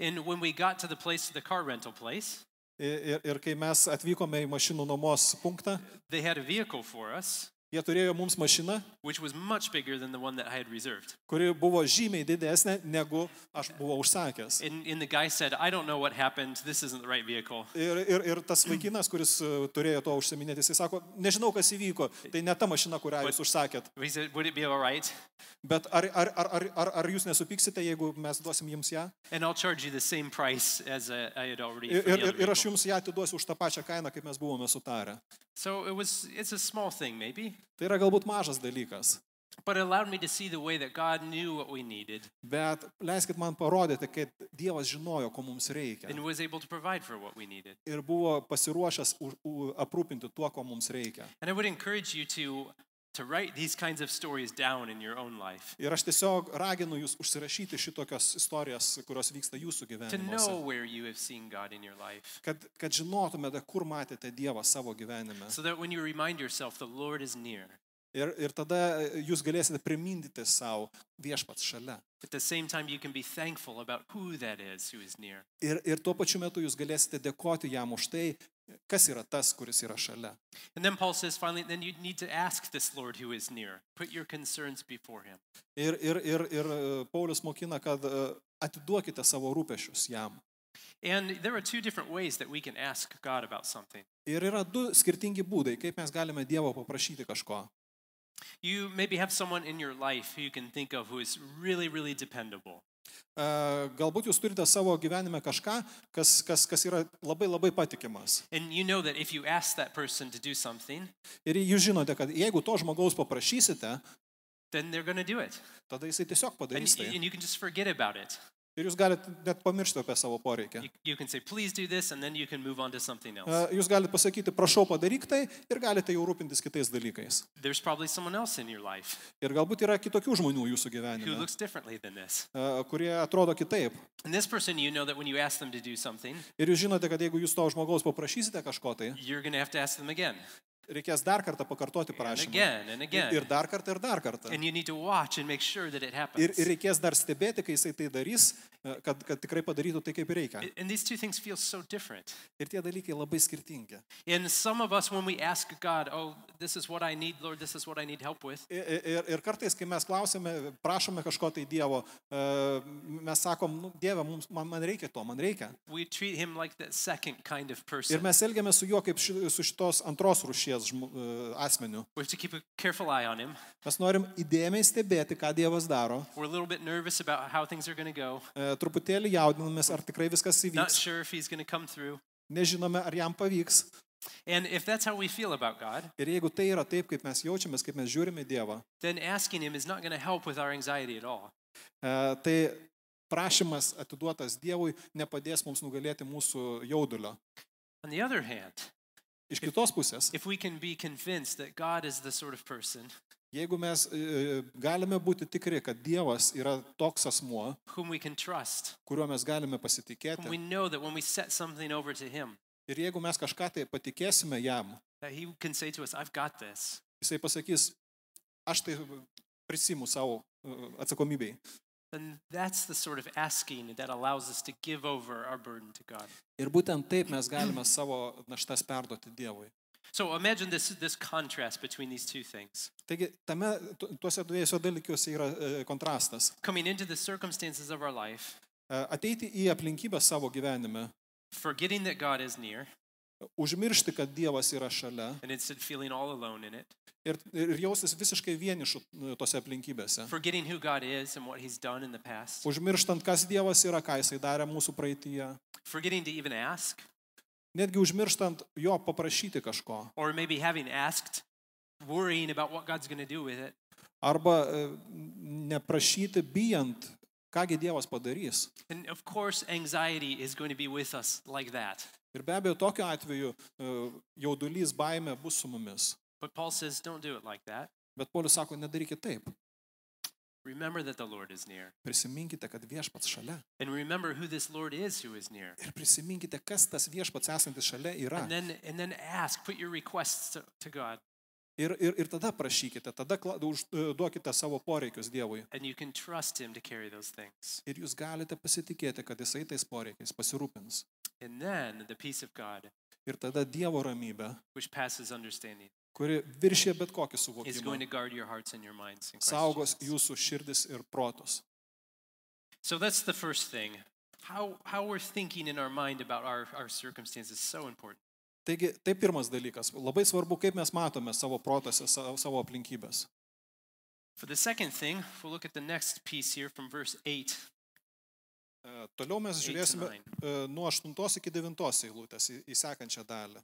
Speaker 2: And when we got to the place, the car rental place,
Speaker 3: Ir, ir, ir kai mes atvykome į mašinų nuomos punktą,
Speaker 2: they had a vehicle for us,
Speaker 3: jie turėjo mums mašiną,
Speaker 2: which was much bigger than the one that I had reserved.
Speaker 3: kuri buvo žymiai didesnė, negu aš buvau užsakęs.
Speaker 2: And, and the guy said, I don't know what happened. This isn't the right vehicle.
Speaker 3: Ir, ir, ir tas vaikinas, kuris e, turėjo to užsiminėti, jisai sako, nežinau, kas įvyko, tai ne ta mašina, kurią jūs užsakėt,
Speaker 2: But he said, Would it be all right?
Speaker 3: bet ar, ar, ar, ar, ar, ar jūs nesupiksite, jeigu mes duosim jums ją?
Speaker 2: And I'll charge you the same price as uh, I had already.
Speaker 3: Ir,
Speaker 2: for the
Speaker 3: ir,
Speaker 2: other
Speaker 3: ir- ir aš
Speaker 2: vehicle."
Speaker 3: jums ją atiduosiu už tą pačią kainą, kaip mes buvome sutarę.
Speaker 2: So it was, it's a small thing maybe,
Speaker 3: Tai yra galbūt mažas dalykas,
Speaker 2: but it allowed me to see the way that God knew what we needed
Speaker 3: bet leiskit man parodyti, kad Dievas žinojo, ko mums reikia.
Speaker 2: and was able to provide for what we needed.
Speaker 3: Ir buvo pasiruošęs u, u, aprūpinti tuo, ko mums reikia.
Speaker 2: And I would encourage you to, to write these kinds of stories down in your own life,
Speaker 3: Ir aš tiesiog raginu jūs užsirašyti šitokias istorijas, kurios vyksta jūsų
Speaker 2: to know
Speaker 3: gyvenime.
Speaker 2: where you have seen God in your life,
Speaker 3: Kad, kad žinotumėte, kur matėte Dievą savo gyvenime.
Speaker 2: so that when you remind yourself, the Lord is near.
Speaker 3: Ir, ir tada jūs galėsite primindyti savo viešpats šalia.
Speaker 2: At the same time, you can be thankful about who that is who is near.
Speaker 3: Ir, ir tuo pačiu metu jūs galėsite dėkoti jam už tai, kas yra tas, kuris yra šalia.
Speaker 2: And then Paul says, finally, then you need to ask this Lord who is near. Put your concerns before him.
Speaker 3: Ir, ir, ir, ir e, Paulius mokina, kad e, atiduokite savo rūpešius jam.
Speaker 2: And there are two different ways that we can ask God about something.
Speaker 3: Ir yra du skirtingi būdai, kaip mes galime Dievo paprašyti kažko.
Speaker 2: You maybe have someone in your life who you can think of who is really, really dependable.
Speaker 3: E, Galbūt jūs turite savo gyvenime kažką, kas, kas, kas yra labai labai patikimas.
Speaker 2: And you know that if you ask that person to do something,
Speaker 3: Ir jūs žinote, kad jeigu to žmogaus paprašysite,
Speaker 2: then they're going to do it.
Speaker 3: tada jisai tiesiog
Speaker 2: And,
Speaker 3: padarys tai.
Speaker 2: and you can just forget about it.
Speaker 3: Ir jūs galite net pamiršti apie savo poreikį.
Speaker 2: You, you can say, please do this, and then you can move on to something else.
Speaker 3: E, Jūs galite pasakyti, prašau padaryk tai ir galite jau rūpintis kitais dalykais.
Speaker 2: There's probably someone else in your life
Speaker 3: Ir galbūt yra kitokių žmonių jūsų
Speaker 2: who
Speaker 3: gyvenime,
Speaker 2: looks differently than this.
Speaker 3: e, kurie atrodo kitaip.
Speaker 2: And this person, you know that when you ask them to do something,
Speaker 3: Ir jūs žinote, kad jeigu jūs to žmogaus paprašysite kažko tai,
Speaker 2: you're going to have to ask them again
Speaker 3: reikės dar kartą pakartoti
Speaker 2: and
Speaker 3: prašymą.
Speaker 2: again and
Speaker 3: Ir ir
Speaker 2: again.
Speaker 3: dar kartą, ir dar kartą.
Speaker 2: And you need to watch and make sure that it happens.
Speaker 3: Ir, ir reikės dar stebėti, kai jisai tai darys e, kad, kad tikrai padarytų tai, kaip reikia.
Speaker 2: And these two things feel so different.
Speaker 3: Ir tie dalykai labai skirtingi.
Speaker 2: And some of us, when we ask God, oh, this is what I need, Lord, this is what I need help with,
Speaker 3: I- i- Ir, ir kartais, kai mes klausime, prašome kažko tai Dievo, e, mes sakom, nu, Dieve, mums, man, man reikia to, man reikia.
Speaker 2: we treat him like that second kind of
Speaker 3: Ir
Speaker 2: person.
Speaker 3: mes elgiamės su juo kaip ši, su šitos antros rušies žmo- e, asmeniu.
Speaker 2: We have to keep a careful eye on him.
Speaker 3: Mes norim įdėmiai stebėti, ką Dievas daro.
Speaker 2: We're a little bit nervous about how things are going to go,
Speaker 3: E, Truputėlį jaudinamės, ar tikrai viskas
Speaker 2: not
Speaker 3: įvyks.
Speaker 2: sure if he's going to come through.
Speaker 3: Nežinome, ar jam pavyks.
Speaker 2: And if that's how we feel about God,
Speaker 3: Ir jeigu tai yra taip, kaip mes jaučiamės, kaip mes žiūrime į Dievą,
Speaker 2: then asking him is not going to help with our anxiety at all.
Speaker 3: e, tai prašymas atiduotas Dievui nepadės mums nugalėti mūsų jaudulio.
Speaker 2: On the other hand,
Speaker 3: Iš kitos pusės,
Speaker 2: if we can be convinced that God is the sort of person
Speaker 3: Jeigu mes e, galime būti tikri, kad Dievas yra toks asmuo,
Speaker 2: whom we can trust,
Speaker 3: kuriuo mes
Speaker 2: whom
Speaker 3: galime
Speaker 2: we
Speaker 3: pasitikėti,
Speaker 2: know that when we set something over to him,
Speaker 3: ir jeigu mes kažką tai patikėsime jam,
Speaker 2: that he can say to us, I've got this.
Speaker 3: jisai pasakys, aš tai prisimu savo e, atsakomybei.
Speaker 2: then that's the sort of asking that allows us to give over our burden to God.
Speaker 3: Ir būtent taip mes galime savo naštas perduoti Dievui.
Speaker 2: So imagine this, this contrast between these two things.
Speaker 3: Taigi, tame, tu- tuose dviejose dalykiuose yra e, kontrastas.
Speaker 2: Coming into the circumstances of our life,
Speaker 3: E, Ateiti į aplinkybę savo gyvenime,
Speaker 2: forgetting that God is near,
Speaker 3: užmiršti, kad Dievas yra šalia
Speaker 2: and instead feeling all alone in it,
Speaker 3: ir, ir jaustis visiškai vienišu e, tose aplinkybėse.
Speaker 2: forgetting who God is and what He's done in the past,
Speaker 3: Užmirštant, kas Dievas yra, ką Jisai darė mūsų praeitįje.
Speaker 2: forgetting to even ask,
Speaker 3: Netgi užmirštant jo paprašyti kažko.
Speaker 2: or maybe having asked, worrying about what God's going to do with it,
Speaker 3: Arba e, neprašyti, bijant, kągi Dievas padarys.
Speaker 2: and of course, anxiety is going to be with us like that.
Speaker 3: Ir be abejo, tokiu atveju e, jaudulys, baime bus su mumis.
Speaker 2: But Paul says, don't do it like that.
Speaker 3: Bet Polius sako, nedarykit taip.
Speaker 2: Remember that the Lord is near.
Speaker 3: Prisiminkite, kad viešpats šalia.
Speaker 2: And remember who this Lord is who is near.
Speaker 3: Ir prisiminkite, kas tas viešpats esantis šalia yra.
Speaker 2: And then, and then ask, put your requests to, to God,
Speaker 3: Ir, ir, ir tada prašykite, tada kla- už- e, duokite savo poreikius Dievui.
Speaker 2: and you can trust Him to carry those things.
Speaker 3: Ir jūs galite pasitikėti, kad Jisai tais poreikiais pasirūpins.
Speaker 2: And then the peace of God,
Speaker 3: Ir tada Dievo ramybė
Speaker 2: which passes understanding,
Speaker 3: kuri viršė bet kokį
Speaker 2: is going to
Speaker 3: suvokimą,
Speaker 2: guard your hearts and your minds. in Christ
Speaker 3: saugos
Speaker 2: Jesus.
Speaker 3: jūsų širdis ir protus.
Speaker 2: So that's the first thing. How, how we're thinking in our mind about our, our circumstances is so important.
Speaker 3: Taigi, tai pirmas dalykas. Labai svarbu, kaip mes matome savo protose, savo, savo aplinkybės.
Speaker 2: For the second thing, we'll look at the next piece here from verse 8.
Speaker 3: E, Toliau mes
Speaker 2: Eight to
Speaker 3: žiūrėsime
Speaker 2: nine.
Speaker 3: e, nuo 8 iki 9 eilutės į, į sekančią dalį.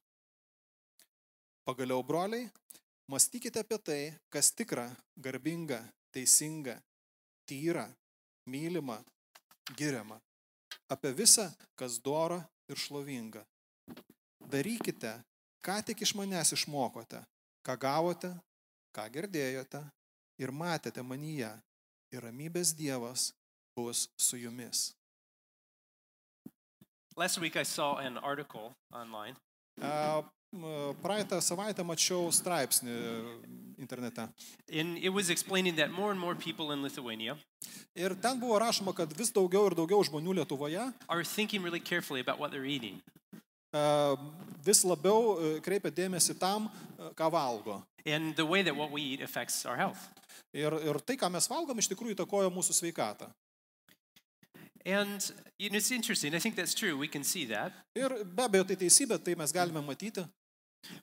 Speaker 3: Pagaliau, broliai, mąstykite apie tai, kas tikra, garbinga, teisinga, tyra, mylima, giriama. Apie visą, kas dora ir šlovinga. Darykite, ką tik iš manęs išmokote, ką gavote, ką girdėjote ir matėte manyje. Ir ramybės Dievas bus su jumis.
Speaker 2: Last week I saw an article online
Speaker 3: A, m, Praeitą savaitę mačiau straipsnį internete.
Speaker 2: and it was explaining that more and more people in Lithuania
Speaker 3: Ir ten buvo rašoma, kad vis daugiau ir daugiau žmonių Lietuvoje
Speaker 2: are thinking really carefully about what they're eating.
Speaker 3: a, vis labiau e, kreipia dėmesį tam, e, ką valgo.
Speaker 2: and the way that what we eat affects our health.
Speaker 3: Ir, ir tai, ką mes valgom, iš tikrųjų įtakoja mūsų sveikatą.
Speaker 2: And you know, it's interesting. I think that's true. We can see that.
Speaker 3: Ir be abejo, tai teisybė, tai mes galime matyti.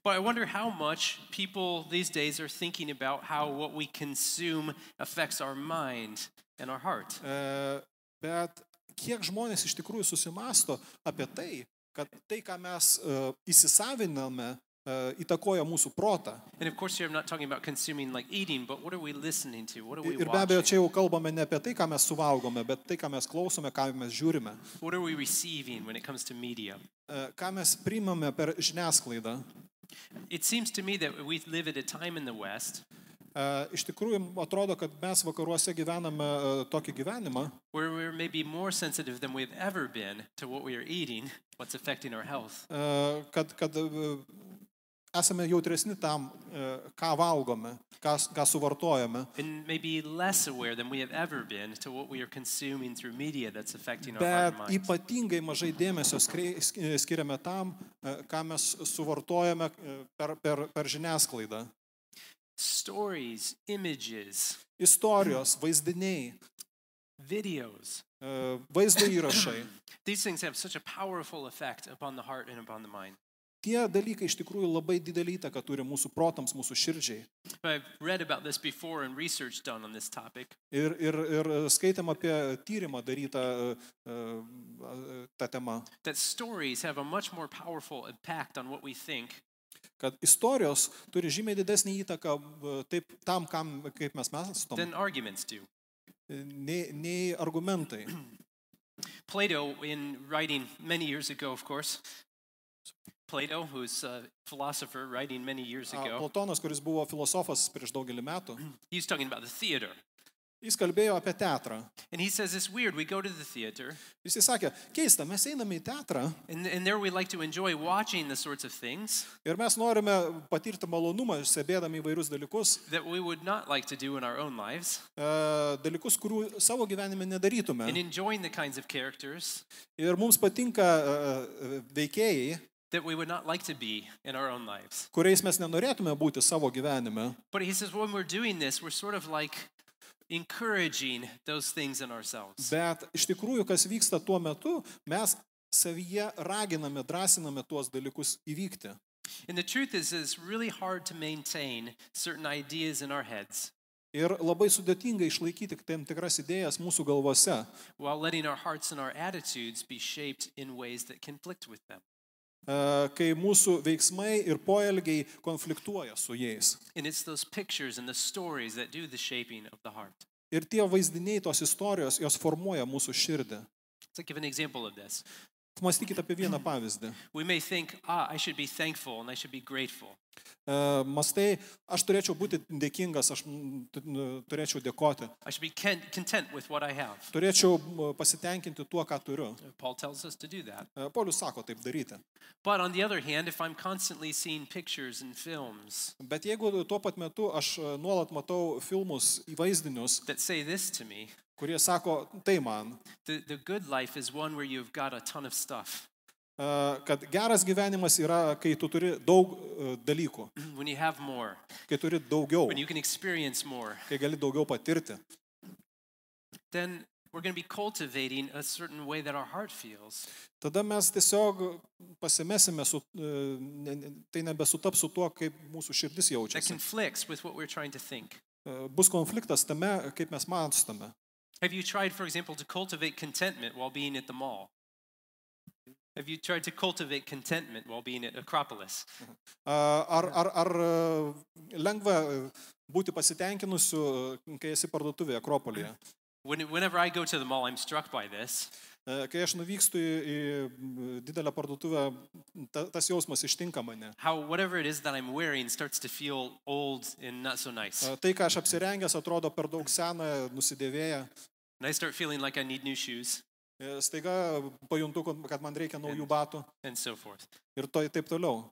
Speaker 2: But I wonder how much people these days are thinking about how what we consume affects our mind and our heart.
Speaker 3: E, Bet kiek žmonės iš tikrųjų susimasto apie tai, kad tai, ką mes e, įsisaviname, e, įtakoja mūsų protą.
Speaker 2: And of course, here I'm not talking about consuming like eating, but what are we listening to? What are we
Speaker 3: Ir be abejo, čia
Speaker 2: watching?
Speaker 3: jau kalbame ne apie tai, ką mes suvalgome, bet tai, ką mes klausome, ką mes žiūrime,
Speaker 2: What are we receiving when it comes to media?
Speaker 3: e, ką mes primame per žiniasklaidą. E,
Speaker 2: It seems to me that we live at a time in the West
Speaker 3: E, Iš tikrųjų, atrodo, kad mes vakaruose gyvename e, tokį gyvenimą,
Speaker 2: where we're maybe more sensitive than we've ever been to what we are eating, what's affecting our health.
Speaker 3: e, kad, kad e, esame jautresni tam, e, ką valgome, ką, ką suvartojame.
Speaker 2: and maybe less aware than we have ever been to what we are consuming through media that's affecting our heart and
Speaker 3: Bet
Speaker 2: mind.
Speaker 3: ypatingai mažai dėmesio skrei- sk- skiriame tam, e, ką mes suvartojame e, per, per, per žiniasklaidą.
Speaker 2: Stories, images,
Speaker 3: Istorijos, vaizdiniai,
Speaker 2: videos.
Speaker 3: e, vaizdo įrašai.
Speaker 2: These things have such a powerful effect upon the heart and upon the mind.
Speaker 3: Tie dalykai iš tikrųjų labai didelį įtaką turi mūsų protams, mūsų širdžiai.
Speaker 2: I've read about this before and research done on this topic.
Speaker 3: Ir, ir, ir skaitėm apie tyrimą darytą e, e, tą temą,
Speaker 2: that stories have a much more powerful impact on what we think
Speaker 3: kad istorijos turi žymiai didesnį įtaką e, taip, tam, kam, kaip mes mąstom,
Speaker 2: than arguments do.
Speaker 3: nei, nei argumentai.
Speaker 2: Plato, in writing many years ago, of course, Plato, who's a philosopher writing many years
Speaker 3: A,
Speaker 2: ago,
Speaker 3: Platonas, kuris buvo filosofas prieš daugelį metų,
Speaker 2: he's talking about the theater.
Speaker 3: jis kalbėjo apie teatrą.
Speaker 2: And he says it's weird. We go to the theater,
Speaker 3: Jis sakė, keista, mes einame į teatrą
Speaker 2: and, and there we like to enjoy watching the sorts of things
Speaker 3: ir mes norime patirti malonumą, stebėdami įvairius dalykus,
Speaker 2: that we would not like to do in our own lives,
Speaker 3: e, dalykus, kurių savo gyvenime nedarytume.
Speaker 2: and enjoying the kinds of characters
Speaker 3: Ir mums patinka e, e, veikėjai,
Speaker 2: that we would not like to be in our own lives.
Speaker 3: kuriais mes nenorėtume būti savo gyvenime.
Speaker 2: But he says when we're doing this, we're sort of like encouraging those things in ourselves.
Speaker 3: Bet iš tikrųjų, kas vyksta tuo metu, mes savyje raginame, drąsiname tuos dalykus įvykti.
Speaker 2: And the truth is, it's really hard to maintain certain ideas in our heads
Speaker 3: Ir labai sudėtinga išlaikyti tam tikras idėjas mūsų galvose, e,
Speaker 2: while letting our hearts and our attitudes be shaped in ways that conflict with them.
Speaker 3: e, kai mūsų veiksmai ir poelgiai konfliktuoja su jais.
Speaker 2: And it's those pictures and the stories that do the shaping of the heart.
Speaker 3: Ir tie vaizdiniai tos istorijos, jos formuoja mūsų širdį.
Speaker 2: To give an example of this,
Speaker 3: Mąstykite apie vieną pavyzdį.
Speaker 2: we may think, ah, I should be thankful and I should be grateful.
Speaker 3: E, Mastai, aš turėčiau būti dėkingas, aš mm, tu- n- turėčiau dėkoti,
Speaker 2: I should be con- content with what I have.
Speaker 3: turėčiau m, pasitenkinti tuo, ką turiu.
Speaker 2: Paul tells us to do that.
Speaker 3: E, Paulius sako taip daryti.
Speaker 2: But on the other hand, if I'm constantly seeing pictures and films
Speaker 3: Bet jeigu tuo pat metu aš e, nuolat matau filmus įvaizdinius,
Speaker 2: that say this to me,
Speaker 3: kurie sako, tai man,
Speaker 2: the, the good life is one where you've got a ton of stuff, <clears throat>
Speaker 3: e, kad geras gyvenimas yra, kai tu turi daug e, dalykų,
Speaker 2: when you have more,
Speaker 3: kai turi daugiau,
Speaker 2: when you can experience more,
Speaker 3: kai gali daugiau patirti,
Speaker 2: then we're going to be cultivating a certain way that our heart feels.
Speaker 3: tada mes tiesiog pasimesime, su, e, ne- ne- tai nebesutaps su tuo, kaip mūsų širdis
Speaker 2: That
Speaker 3: jaučiasi.
Speaker 2: conflicts with what we're trying to think.
Speaker 3: E, Bus konfliktas tame, kaip mes matstame.
Speaker 2: Have you tried, for example, to cultivate contentment while being at the mall? Have you tried to cultivate contentment while being at Acropolis?
Speaker 3: Ar, ar, ar e, lengva e, būti pasitenkinusiu, e, kai esi parduotuvėje Akropolėje?
Speaker 2: When, whenever I go to the mall, I'm struck by this.
Speaker 3: E, Kai aš nuvykstu į, į m, didelę parduotuvę, ta, tas jausmas ištinka mane.
Speaker 2: How whatever it is that I'm wearing starts to feel old and not so nice.
Speaker 3: E, Tai, ką aš apsirengęs, atrodo per daug seną, nusidėvėję.
Speaker 2: And I start feeling like I need new shoes
Speaker 3: E, Staiga pajuntu, kad- kad man reikia naujų batų
Speaker 2: and so forth.
Speaker 3: ir to, taip toliau.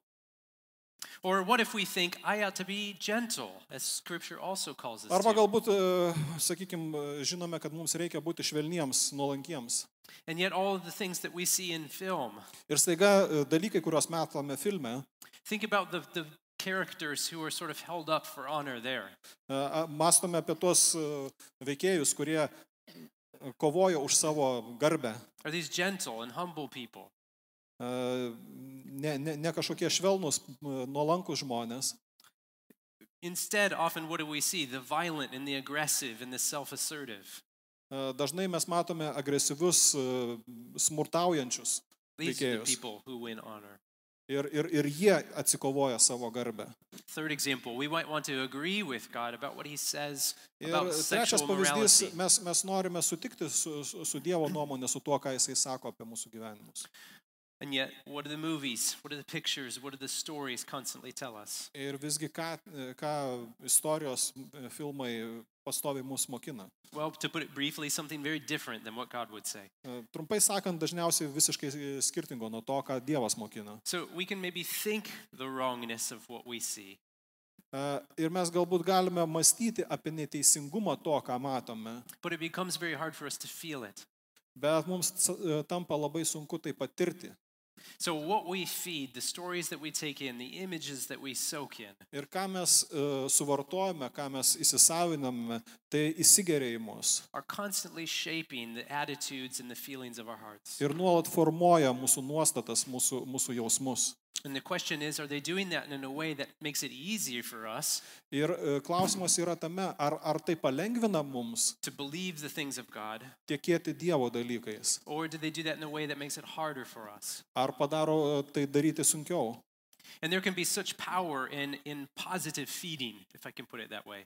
Speaker 2: Or what if we think I ought to be gentle, as scripture also calls us
Speaker 3: Arba
Speaker 2: to?
Speaker 3: galbūt, sakykime, žinome, kad mums reikia būti švelniems, nuolankiems.
Speaker 2: And yet all of the things that we see in film.
Speaker 3: Ir staiga e, dalykai, kuriuos matome filme, e,
Speaker 2: Think about the, the characters who are sort of held up for honor there.
Speaker 3: e, a- mąstome apie tuos e, veikėjus, kurie kovoja už savo garbę.
Speaker 2: Are these gentle and humble people?
Speaker 3: E, ne, ne, ne kažkokie švelnus, nuolankūs žmonės.
Speaker 2: Instead, often what do we see? The violent and the aggressive and the self-assertive.
Speaker 3: E, Dažnai mes matome agresyvius, e, smurtaujančius
Speaker 2: These are the
Speaker 3: Veikėjus.
Speaker 2: people who win honor.
Speaker 3: ir, ir, ir jie atsikovoja savo garbę.
Speaker 2: Third example, we might want to agree with God about what he says
Speaker 3: Ir
Speaker 2: about
Speaker 3: trečias
Speaker 2: sexual
Speaker 3: pavyzdys,
Speaker 2: morality.
Speaker 3: mes, mes norime sutikti su, su, su Dievo nuomonė, su tuo, ką Jisai sako apie mūsų gyvenimus.
Speaker 2: And yet, what are the movies? What are the pictures? What are the stories constantly tell us?
Speaker 3: Ir visgi, ką, e, ką istorijos e, filmai pastoviai mus mokina.
Speaker 2: Well, to put it briefly, something very different than what God would say.
Speaker 3: E, Trumpai sakant, dažniausiai visiškai e, skirtingo nuo to, ką Dievas mokina.
Speaker 2: So we can maybe think the wrongness of what we see,
Speaker 3: E, Ir mes galbūt galime mąstyti apie neteisingumą to, ką matome,
Speaker 2: but it becomes very hard for us to feel it.
Speaker 3: bet mums s- e, tampa labai sunku tai patirti.
Speaker 2: So, what we feed, the stories that we take in, the images that we soak in,
Speaker 3: Ir ką mes e, suvartojame, ką mes įsisaviname, tai įsigeria į mus.
Speaker 2: are constantly shaping the attitudes and the feelings of our hearts.
Speaker 3: Ir nuolat formuoja mūsų nuostatas, mūsų, mūsų jausmus.
Speaker 2: And the question is, are they doing that in a way that makes it easier for us
Speaker 3: Ir e, klausimas yra tame, ar, ar tai palengvina mums
Speaker 2: to believe the things of God,
Speaker 3: tiekėti Dievo dalykais,
Speaker 2: or do they do that in a way that makes it harder for us?
Speaker 3: ar padaro e, tai daryti sunkiau.
Speaker 2: And there can be such power in, in positive feeding, if I can put it that way.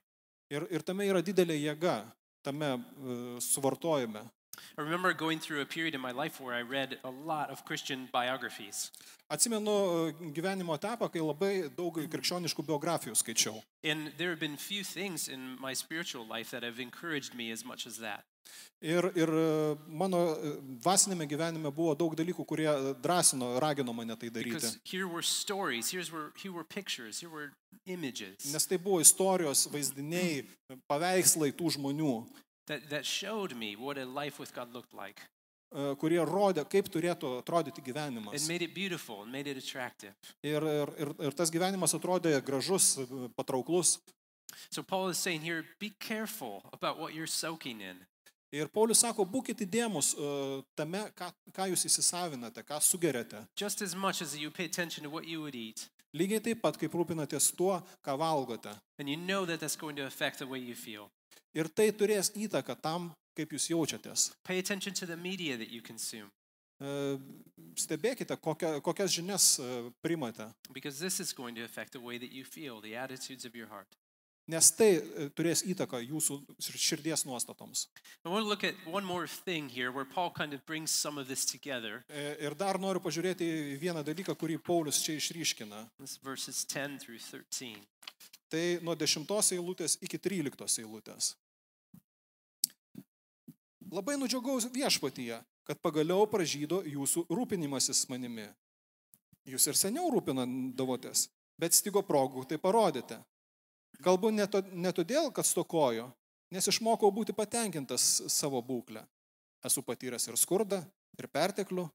Speaker 3: Ir, ir tame yra didelė jėga, tame e, suvartojime.
Speaker 2: I remember going through a period in my life where I read a lot of Christian biographies.
Speaker 3: Atsimenu e, gyvenimo etapą, kai labai daug krikščioniškų biografijų skaičiau.
Speaker 2: And there have been few things in my spiritual life that have encouraged me as much as that.
Speaker 3: Ir, ir e, mano e, dvasinėme gyvenime buvo daug dalykų, kurie e, drąsino, ragino mane tai daryti.
Speaker 2: Because here were stories, here's were, here were pictures, here were images
Speaker 3: Nes tai buvo istorijos, vaizdiniai, paveikslai tų žmonių,
Speaker 2: that, that showed me what a life with God looked like.
Speaker 3: e, kurie rodė, kaip turėtų atrodyti gyvenimas.
Speaker 2: It made it beautiful and made it attractive.
Speaker 3: Ir, ir, ir, ir tas gyvenimas atrodė gražus, e, patrauklus.
Speaker 2: So Paul is saying here, be careful about what you're soaking in.
Speaker 3: Ir Paulius sako, būkite įdėmus e, tame, ką, ką jūs įsisavinate, ką sugeriate.
Speaker 2: Just as much as you pay attention to what you would eat,
Speaker 3: Lygiai taip pat, kaip rūpinatės tuo, ką valgote.
Speaker 2: and you know that that's going to affect the way you feel.
Speaker 3: Ir tai turės įtaką tam, kaip jūs jaučiatės.
Speaker 2: Pay attention to the media that you consume,
Speaker 3: E, Stebėkite, kokia, kokias žinias e, primate,
Speaker 2: because this is going to affect the way that you feel, the attitudes of your heart.
Speaker 3: nes tai e, turės įtaką jūsų šir- širdies nuostatoms.
Speaker 2: I want to look at one more thing here where Paul kind of brings some of this together.
Speaker 3: E, Ir dar noriu pažiūrėti į vieną dalyką, kurį Paulius čia išryškina.
Speaker 2: This is verses 10 through 13.
Speaker 3: Tai nuo 10 eilutės iki 13 eilutės. Labai nudžiugau viešpatyje, kad pagaliau pražydo jūsų rūpinimasis manimi. Jūs ir seniau rūpinandavotės, bet stigo progų tai parodėte. Galbūt ne to- ne todėl, kad stokojo, nes išmokau būti patenkintas savo būklę. Esu patyręs ir skurdą, ir perteklių.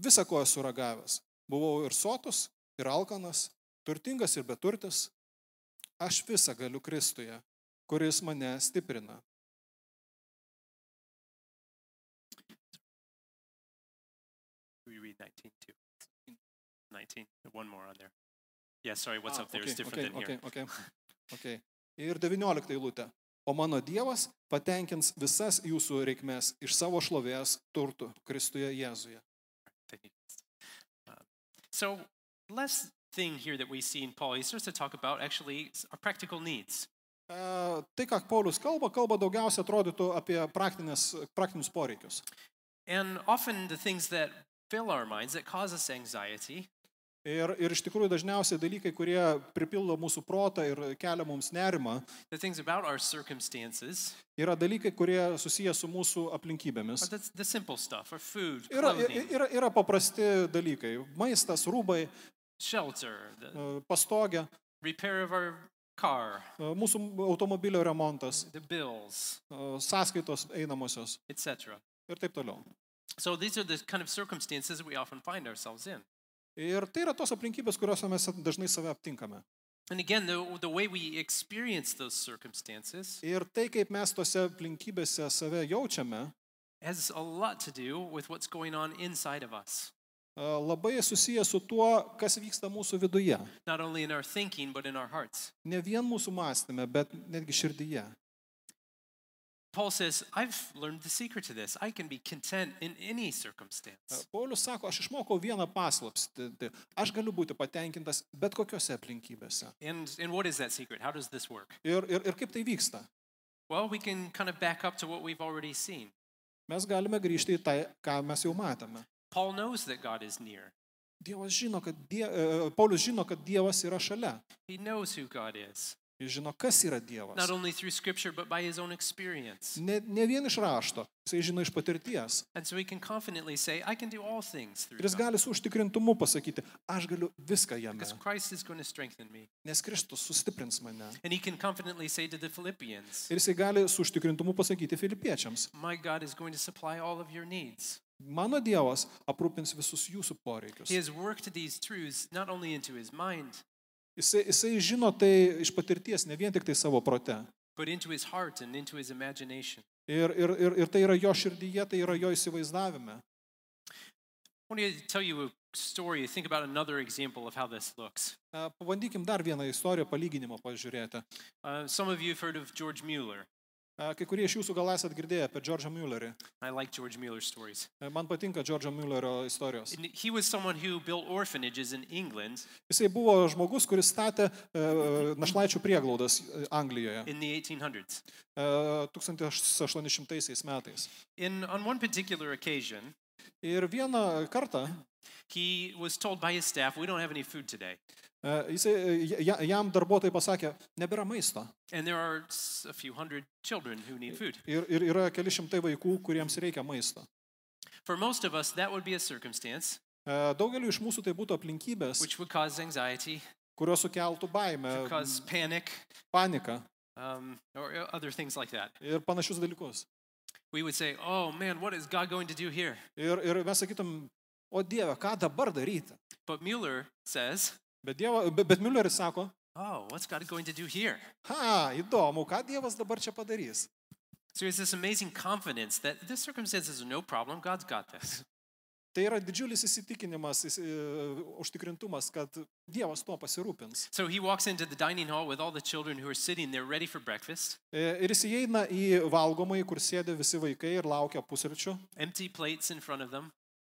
Speaker 3: Visą ko esu ragavęs. Buvau ir sotus, ir alkanas, turtingas ir beturtis, aš visą galiu Kristuje, kuris mane stiprina.
Speaker 2: We read 19 too. 19. One more on there. Yeah, sorry, what's
Speaker 3: Ah,
Speaker 2: up there is
Speaker 3: okay,
Speaker 2: different
Speaker 3: okay,
Speaker 2: than here.
Speaker 3: okay, okay, okay. Ir 19 eilutė. O mano Dievas patenkins visas jūsų reikmes iš savo šlovės turtų Kristuje Jėzuje.
Speaker 2: Thank you. Uh, So, last thing here that we see in Paul, he starts to talk about actually s- our practical needs.
Speaker 3: E, tai, ką Paulius kalba, kalba daugiausia atrodytų apie praktines- praktinius poreikius.
Speaker 2: And often the things that fill our minds, that cause us anxiety,
Speaker 3: Ir, ir iš tikrųjų dažniausiai dalykai, kurie pripildo mūsų protą ir kelia mums nerimą,
Speaker 2: the things about our circumstances,
Speaker 3: yra dalykai, kurie susiję su mūsų aplinkybėmis.
Speaker 2: are the, the simple stuff, our food,
Speaker 3: Yra,
Speaker 2: clothing,
Speaker 3: yra, yra paprasti dalykai. Maistas, rūbai,
Speaker 2: shelter, the
Speaker 3: e, pastogė,
Speaker 2: repair of our car,
Speaker 3: e, mūsų automobilio remontas,
Speaker 2: the bills,
Speaker 3: e, sąskaitos einamosios
Speaker 2: etc.
Speaker 3: ir taip toliau.
Speaker 2: So these are the kind of circumstances that we often find ourselves in.
Speaker 3: Ir tai yra tos aplinkybės, kuriuose mes dažnai save aptinkame.
Speaker 2: And again, the, the way we experience those circumstances
Speaker 3: Ir tai, kaip mes tose aplinkybėse save jaučiame,
Speaker 2: has a lot to do with what's going on inside of us,
Speaker 3: e, labai susiję su tuo, kas vyksta mūsų viduje.
Speaker 2: not only in our thinking, but in our hearts.
Speaker 3: Ne vien mūsų mąstymė, bet netgi širdyje.
Speaker 2: Paul says, I've learned the secret to this. I can be content in any
Speaker 3: E,
Speaker 2: circumstance.
Speaker 3: Paulius sako, aš išmokau vieną paslapstį. Aš galiu būti patenkintas bet kokiose aplinkybėse.
Speaker 2: And, and what is that secret? How does this work?
Speaker 3: Ir, ir, ir kaip tai vyksta?
Speaker 2: Well, we can kind of back up to what we've already seen.
Speaker 3: mes galime grįžti į tai, ką mes jau matėme.
Speaker 2: Paul knows that God is near,
Speaker 3: e, Dievas žino, kad die, e, Paulius žino, kad Dievas yra šalia.
Speaker 2: he knows who God is,
Speaker 3: Jis žino, kas yra Dievas.
Speaker 2: not only through Scripture, but by his own experience.
Speaker 3: Ne, ne vien iš rašto, jisai žino iš patirties.
Speaker 2: And so he can confidently say, I can do all things through
Speaker 3: Ir jis
Speaker 2: God,
Speaker 3: gali su užtikrintumu pasakyti, aš galiu viską jame,
Speaker 2: because Christ is going to strengthen me.
Speaker 3: nes Kristus sustiprins mane.
Speaker 2: And he can confidently say to the Philippians,
Speaker 3: Ir jisai gali su užtikrintumu pasakyti filipiečiams,
Speaker 2: My God is going to supply all of your needs.
Speaker 3: mano Dievas aprūpins visus jūsų poreikius.
Speaker 2: He has worked these truths not only into his mind,
Speaker 3: Jisai, jisai žino tai iš patirties, ne vien tik tai savo prote.
Speaker 2: but into his heart and into his imagination.
Speaker 3: Ir, ir, ir, ir tai yra jo širdyje, tai yra jo įsivaizdavime.
Speaker 2: I want to tell you a story. Think about another example of how this looks.
Speaker 3: E, Pabandykim dar vieną istoriją palyginimo pažiūrėti.
Speaker 2: Uh, some of you have heard of George Mueller.
Speaker 3: E, Kai kurie iš jūsų gal esat girdėję apie Džordžą Müllerį.
Speaker 2: I like George Mueller stories.
Speaker 3: E, Man patinka Džordžo Müllerio istorijos.
Speaker 2: And he was someone who built orphanages in England
Speaker 3: Jisai buvo žmogus, kuris statė e, našlaičių prieglaudas e, Anglijoje
Speaker 2: in the 1800s.
Speaker 3: e, 1800 metais.
Speaker 2: In, on one particular occasion,
Speaker 3: Ir vieną kartą
Speaker 2: he was told by his staff, We don't have any food today.
Speaker 3: e, jisai, e, ja- jam darbuotojai pasakė, nebėra maisto.
Speaker 2: And there are s- a few hundred children who need food.
Speaker 3: Ir, ir yra keli šimtai vaikų, kuriems reikia maisto.
Speaker 2: For most of us, that would be a circumstance
Speaker 3: E, Daugeliu iš mūsų tai būtų aplinkybės,
Speaker 2: which would cause anxiety,
Speaker 3: kurios sukeltų baimę,
Speaker 2: could cause panic,
Speaker 3: paniką
Speaker 2: um, or uh, other things like that.
Speaker 3: ir panašius dalykus.
Speaker 2: We would say, Oh man, what is God going to do here?
Speaker 3: Ir, ir mes sakytum, o Dieve, ką dabar daryti?
Speaker 2: But Mueller says,
Speaker 3: Bet, dievo, bet, bet Mülleris sako,
Speaker 2: Oh, what's God going to do here?
Speaker 3: ha, įdomu, ką Dievas dabar čia padarys.
Speaker 2: So there's this amazing confidence that this circumstances are no problem. God's got this.
Speaker 3: Tai yra didžiulis įsitikinimas, įs- e, užtikrintumas, kad Dievas tuo pasirūpins.
Speaker 2: So he walks into the dining hall with all the children who are sitting there ready for breakfast,
Speaker 3: E, Ir jis įeina į valgomąjį, kur sėdi visi vaikai ir laukia pusryčių.
Speaker 2: empty plates in front of them,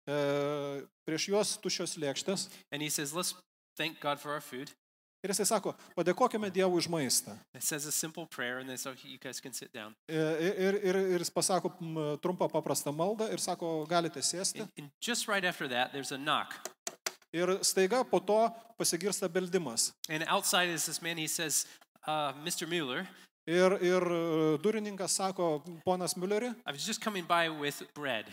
Speaker 3: E, Prieš juos tušios lėkštės.
Speaker 2: and he says, Let's thank God for our food.
Speaker 3: Ir jisai sako, padėkokime Dievui už maistą.
Speaker 2: It says a simple prayer, and then so you guys can sit down.
Speaker 3: E, Ir, ir, ir, ir jis pasako m, trumpą paprastą maldą ir sako, galite sėsti.
Speaker 2: And, and just right after that, there's a knock.
Speaker 3: Ir staiga po to pasigirsta beldimas.
Speaker 2: And outside is this man, he says, uh, Mr. Mueller,
Speaker 3: Ir, ir e, durininkas sako, ponas Mülleri,
Speaker 2: I was just coming by with bread.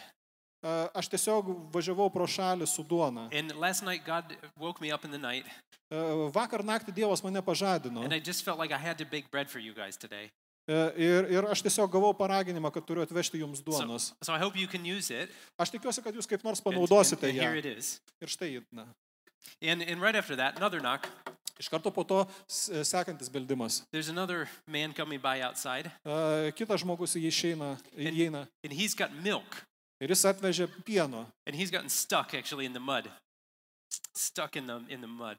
Speaker 3: e, aš tiesiog važiavau pro šalį su duona.
Speaker 2: And last night, God woke me up in the night,
Speaker 3: E, Vakar naktį Dievas mane pažadino.
Speaker 2: and I just felt like I had to bake bread for you guys today.
Speaker 3: E, Ir, ir aš tiesiog gavau paraginimą, kad turiu atvežti jums
Speaker 2: So,
Speaker 3: duonos.
Speaker 2: so I hope you can use it.
Speaker 3: Aš tikiuosi, kad jūs kaip nors
Speaker 2: And, and,
Speaker 3: panaudosite
Speaker 2: and
Speaker 3: ją.
Speaker 2: here it is.
Speaker 3: Ir štai, ji, na.
Speaker 2: And, and right after that, another knock.
Speaker 3: Iš karto po to s- e, sekantis beldimas.
Speaker 2: There's another man coming by outside,
Speaker 3: E, Kitas žmogus į jį išeina, įeina
Speaker 2: and he's got milk,
Speaker 3: ir jis atvežė pieno.
Speaker 2: and he's gotten stuck actually in the mud. Stuck in the, in the mud.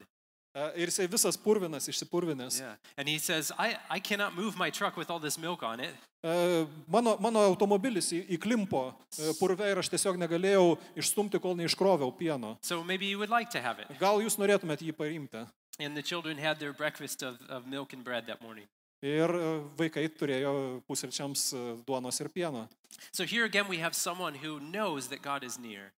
Speaker 3: E, Ir jisai visas purvinas, išsipurvinęs.
Speaker 2: Yeah. And he says, I, I cannot move my truck with all this milk on it.
Speaker 3: E, Mano, mano automobilis į- įklimpo e, purve ir aš tiesiog negalėjau išstumti, kol neiškroviau pieno.
Speaker 2: So maybe you would like to have it.
Speaker 3: Gal jūs norėtumėt jį paimti?
Speaker 2: And the children had their breakfast of, of milk and bread that morning.
Speaker 3: Ir e, vaikai turėjo pusryčiams e, duonos ir pieno.
Speaker 2: So here again, we have someone who knows that God is near.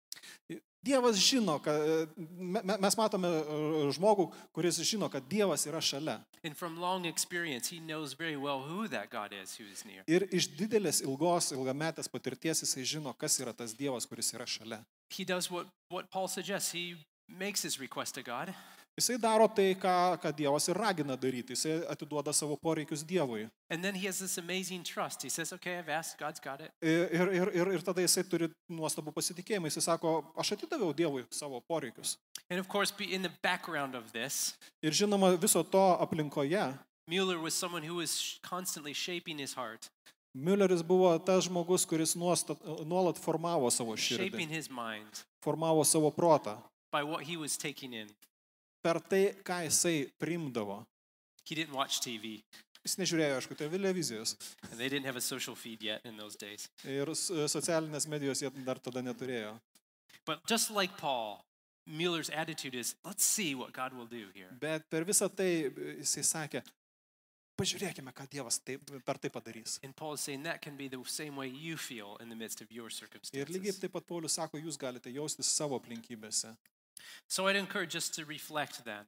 Speaker 3: Dievas žino, kad mes matome e, žmogų, kuris žino, kad Dievas yra šalia.
Speaker 2: And from long experience, he knows very well who that God is who is near.
Speaker 3: Ir iš didelės ilgos, ilgametės patirties jisai žino, kas yra tas Dievas, kuris yra šalia.
Speaker 2: He does what, what Paul suggests. He makes his request to God,
Speaker 3: Jisai daro tai, ką, ką Dievas ir ragina daryti. Jisai atiduoda savo poreikius Dievui.
Speaker 2: and then he has this amazing trust. He says, Okay, I've asked, God's got it.
Speaker 3: Ir, ir, ir, ir, ir tada jisai turi nuostabų pasitikėjimą. Jisai sako, aš atidaviau Dievui savo poreikius.
Speaker 2: And of course, be in the background of this,
Speaker 3: Ir žinoma, viso to aplinkoje
Speaker 2: Mueller was someone who was sh- constantly shaping his heart,
Speaker 3: Mülleris buvo tas žmogus, kuris nuostat, nuolat formavo savo širdį,
Speaker 2: shaping his mind
Speaker 3: formavo savo protą
Speaker 2: by what he was taking in.
Speaker 3: per tai, ką jisai primdavo.
Speaker 2: He didn't watch TV,
Speaker 3: Jis nežiūrėjo, aišku, televizijos
Speaker 2: and they didn't have a social feed yet in those days.
Speaker 3: ir s- socialinės medijos jie dar tada neturėjo.
Speaker 2: But just like Paul, Mueller's attitude is, let's see what God will do here.
Speaker 3: Bet per visą tai e, jisai sakė, pažiūrėkime, ką Dievas taip, per tai padarys.
Speaker 2: And Paul is saying that can be the same way you feel in the midst of your
Speaker 3: Ir lygiai
Speaker 2: circumstances.
Speaker 3: taip pat Paulius sako, jūs galite jaustis savo aplinkybėse.
Speaker 2: So I'd encourage us to reflect then.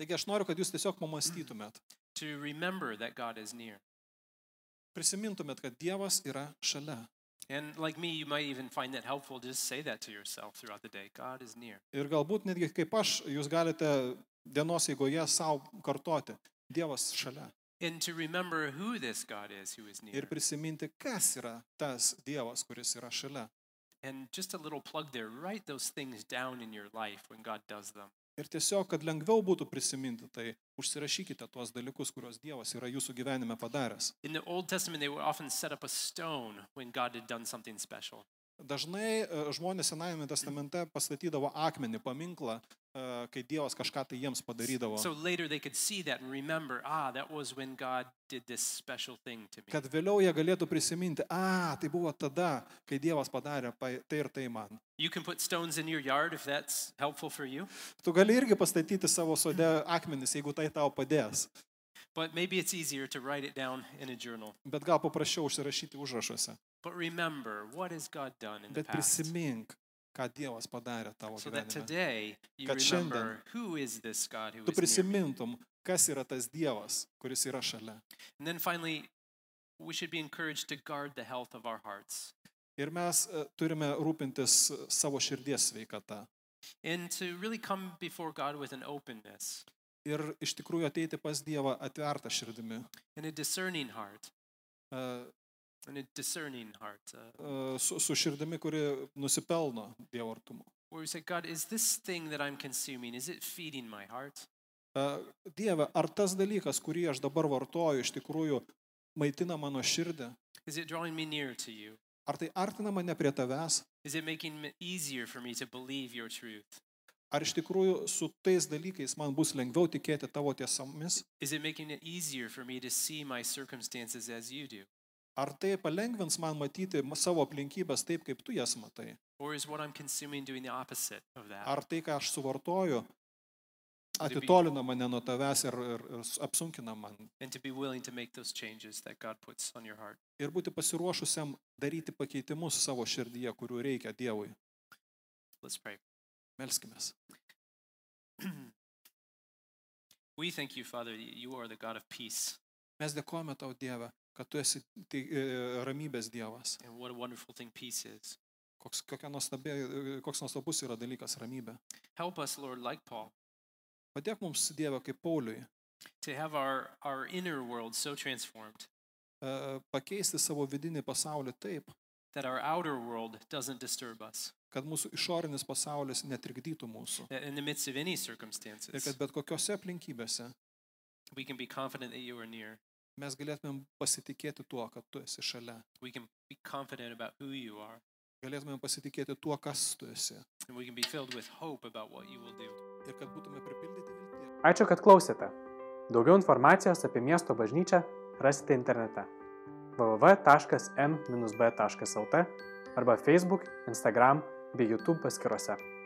Speaker 3: Taigi aš noriu, kad jūs tiesiog pamastytumėt.
Speaker 2: to remember that God is near.
Speaker 3: prisimintumėt, kad Dievas yra šalia.
Speaker 2: And like me, you might even find that helpful. Just say that to yourself throughout the day God is near.
Speaker 3: Ir galbūt netgi kaip aš, jūs galite dienos eigoje savo kartoti. Dievas šalia.
Speaker 2: And to remember who this God is who is near.
Speaker 3: Ir prisiminti, kas yra tas Dievas, kuris yra šalia.
Speaker 2: And just a little plug there write those things down in your life when God does them.
Speaker 3: Ir tiesiog, kad lengviau būtų prisiminti, tai užsirašykite tuos dalykus, kuriuos Dievas yra jūsų gyvenime padaręs.
Speaker 2: In the Old Testament, they would often set up a stone when God had done something special.
Speaker 3: Dažnai e, žmonės Senajame testamente pastatydavo akmenį, paminklą, e, kai Dievas kažką tai jiems padarydavo.
Speaker 2: So later they could see that and remember, ah, that was when God did this special thing to me.
Speaker 3: Kad vėliau jie galėtų prisiminti, a, tai buvo tada, kai Dievas padarė pa- tai ir tai man.
Speaker 2: You can put stones in your yard if that's helpful for you,
Speaker 3: Tu gali irgi pastatyti savo sode akmenis, jeigu tai tau padės.
Speaker 2: but maybe it's easier to write it down in a journal.
Speaker 3: Bet gal paprasčiau užsirašyti užrašuose.
Speaker 2: But remember, what has God done in the
Speaker 3: Bet
Speaker 2: past?
Speaker 3: prisimink, ką Dievas padarė tavo
Speaker 2: So that
Speaker 3: gyvenime.
Speaker 2: today you
Speaker 3: Kad šiandien
Speaker 2: remember who is this God who
Speaker 3: Tu
Speaker 2: is near. me.
Speaker 3: prisimintum, kas yra tas Dievas, kuris yra šalia.
Speaker 2: And then finally, we should be encouraged to guard the health of our hearts
Speaker 3: Ir mes e, turime rūpintis e, savo širdies sveikata.
Speaker 2: and to really come before God with an openness
Speaker 3: Ir iš tikrųjų ateiti pas Dievą atvertą širdimi,
Speaker 2: and a discerning heart
Speaker 3: e,
Speaker 2: and a discerning heart. Uh,
Speaker 3: e, su, su širdimi, kuri nusipelno Dievo artumo.
Speaker 2: where we say, God, is this thing that I'm consuming, is it feeding my heart?
Speaker 3: E, Dieve, ar tas dalykas, kurį aš dabar vartoju, iš tikrųjų maitina mano širdį?
Speaker 2: Is it drawing me near to you?
Speaker 3: Ar tai artina mane prie tavęs?
Speaker 2: Is it making it easier for me to believe your truth?
Speaker 3: Ar iš tikrųjų su tais dalykais man bus lengviau tikėti tavo tiesomis?
Speaker 2: Is it making it easier for me to see my circumstances as you do?
Speaker 3: Ar tai palengvins man matyti ma- savo aplinkybės taip, kaip tu jas matai?
Speaker 2: Or is what I'm consuming doing the opposite of that?
Speaker 3: Ar tai, ką aš suvartoju, atitolina mane nuo tavęs ir, ir, ir s- apsunkina man?
Speaker 2: and to be willing to make those changes that God puts on your heart.
Speaker 3: Ir būti pasiruošusiam daryti pakeitimus savo širdyje, kurių reikia Dievui.
Speaker 2: Let's pray.
Speaker 3: Melskime.
Speaker 2: we thank you, Father, that you are the God of peace.
Speaker 3: Mes dėkojame tau, Dieve, kad tu esi tai, e, ramybės Dievas.
Speaker 2: And what a wonderful thing peace is.
Speaker 3: Koks, kokia nuostabė, e, koks nuostabus yra dalykas ramybė.
Speaker 2: Help us, Lord, like Paul,
Speaker 3: Padėk mums, Dieve, kaip Pauliui,
Speaker 2: to have our, our inner world so transformed
Speaker 3: e, pakeisti savo vidinį pasaulį taip,
Speaker 2: that our outer world doesn't disturb us,
Speaker 3: kad mūsų išorinis pasaulis netrikdytų mūsų.
Speaker 2: that in the midst of any
Speaker 3: Ir
Speaker 2: circumstances,
Speaker 3: kad bet kokiose aplinkybėse
Speaker 2: we can be confident that you are near.
Speaker 3: mes galėtumėm pasitikėti tuo, kad tu esi šalia.
Speaker 2: We can be confident about who you are,
Speaker 3: Galėtumėm pasitikėti tuo, kas tu esi.
Speaker 2: and we can be filled with hope about what you will do.
Speaker 3: Ir kad būtume pripildyti vilties.
Speaker 1: Ačiū, kad klausėte. Daugiau informacijos apie miesto bažnyčią rasite internete www.m-b.lt arba Facebook, Instagram bei YouTube paskiruose.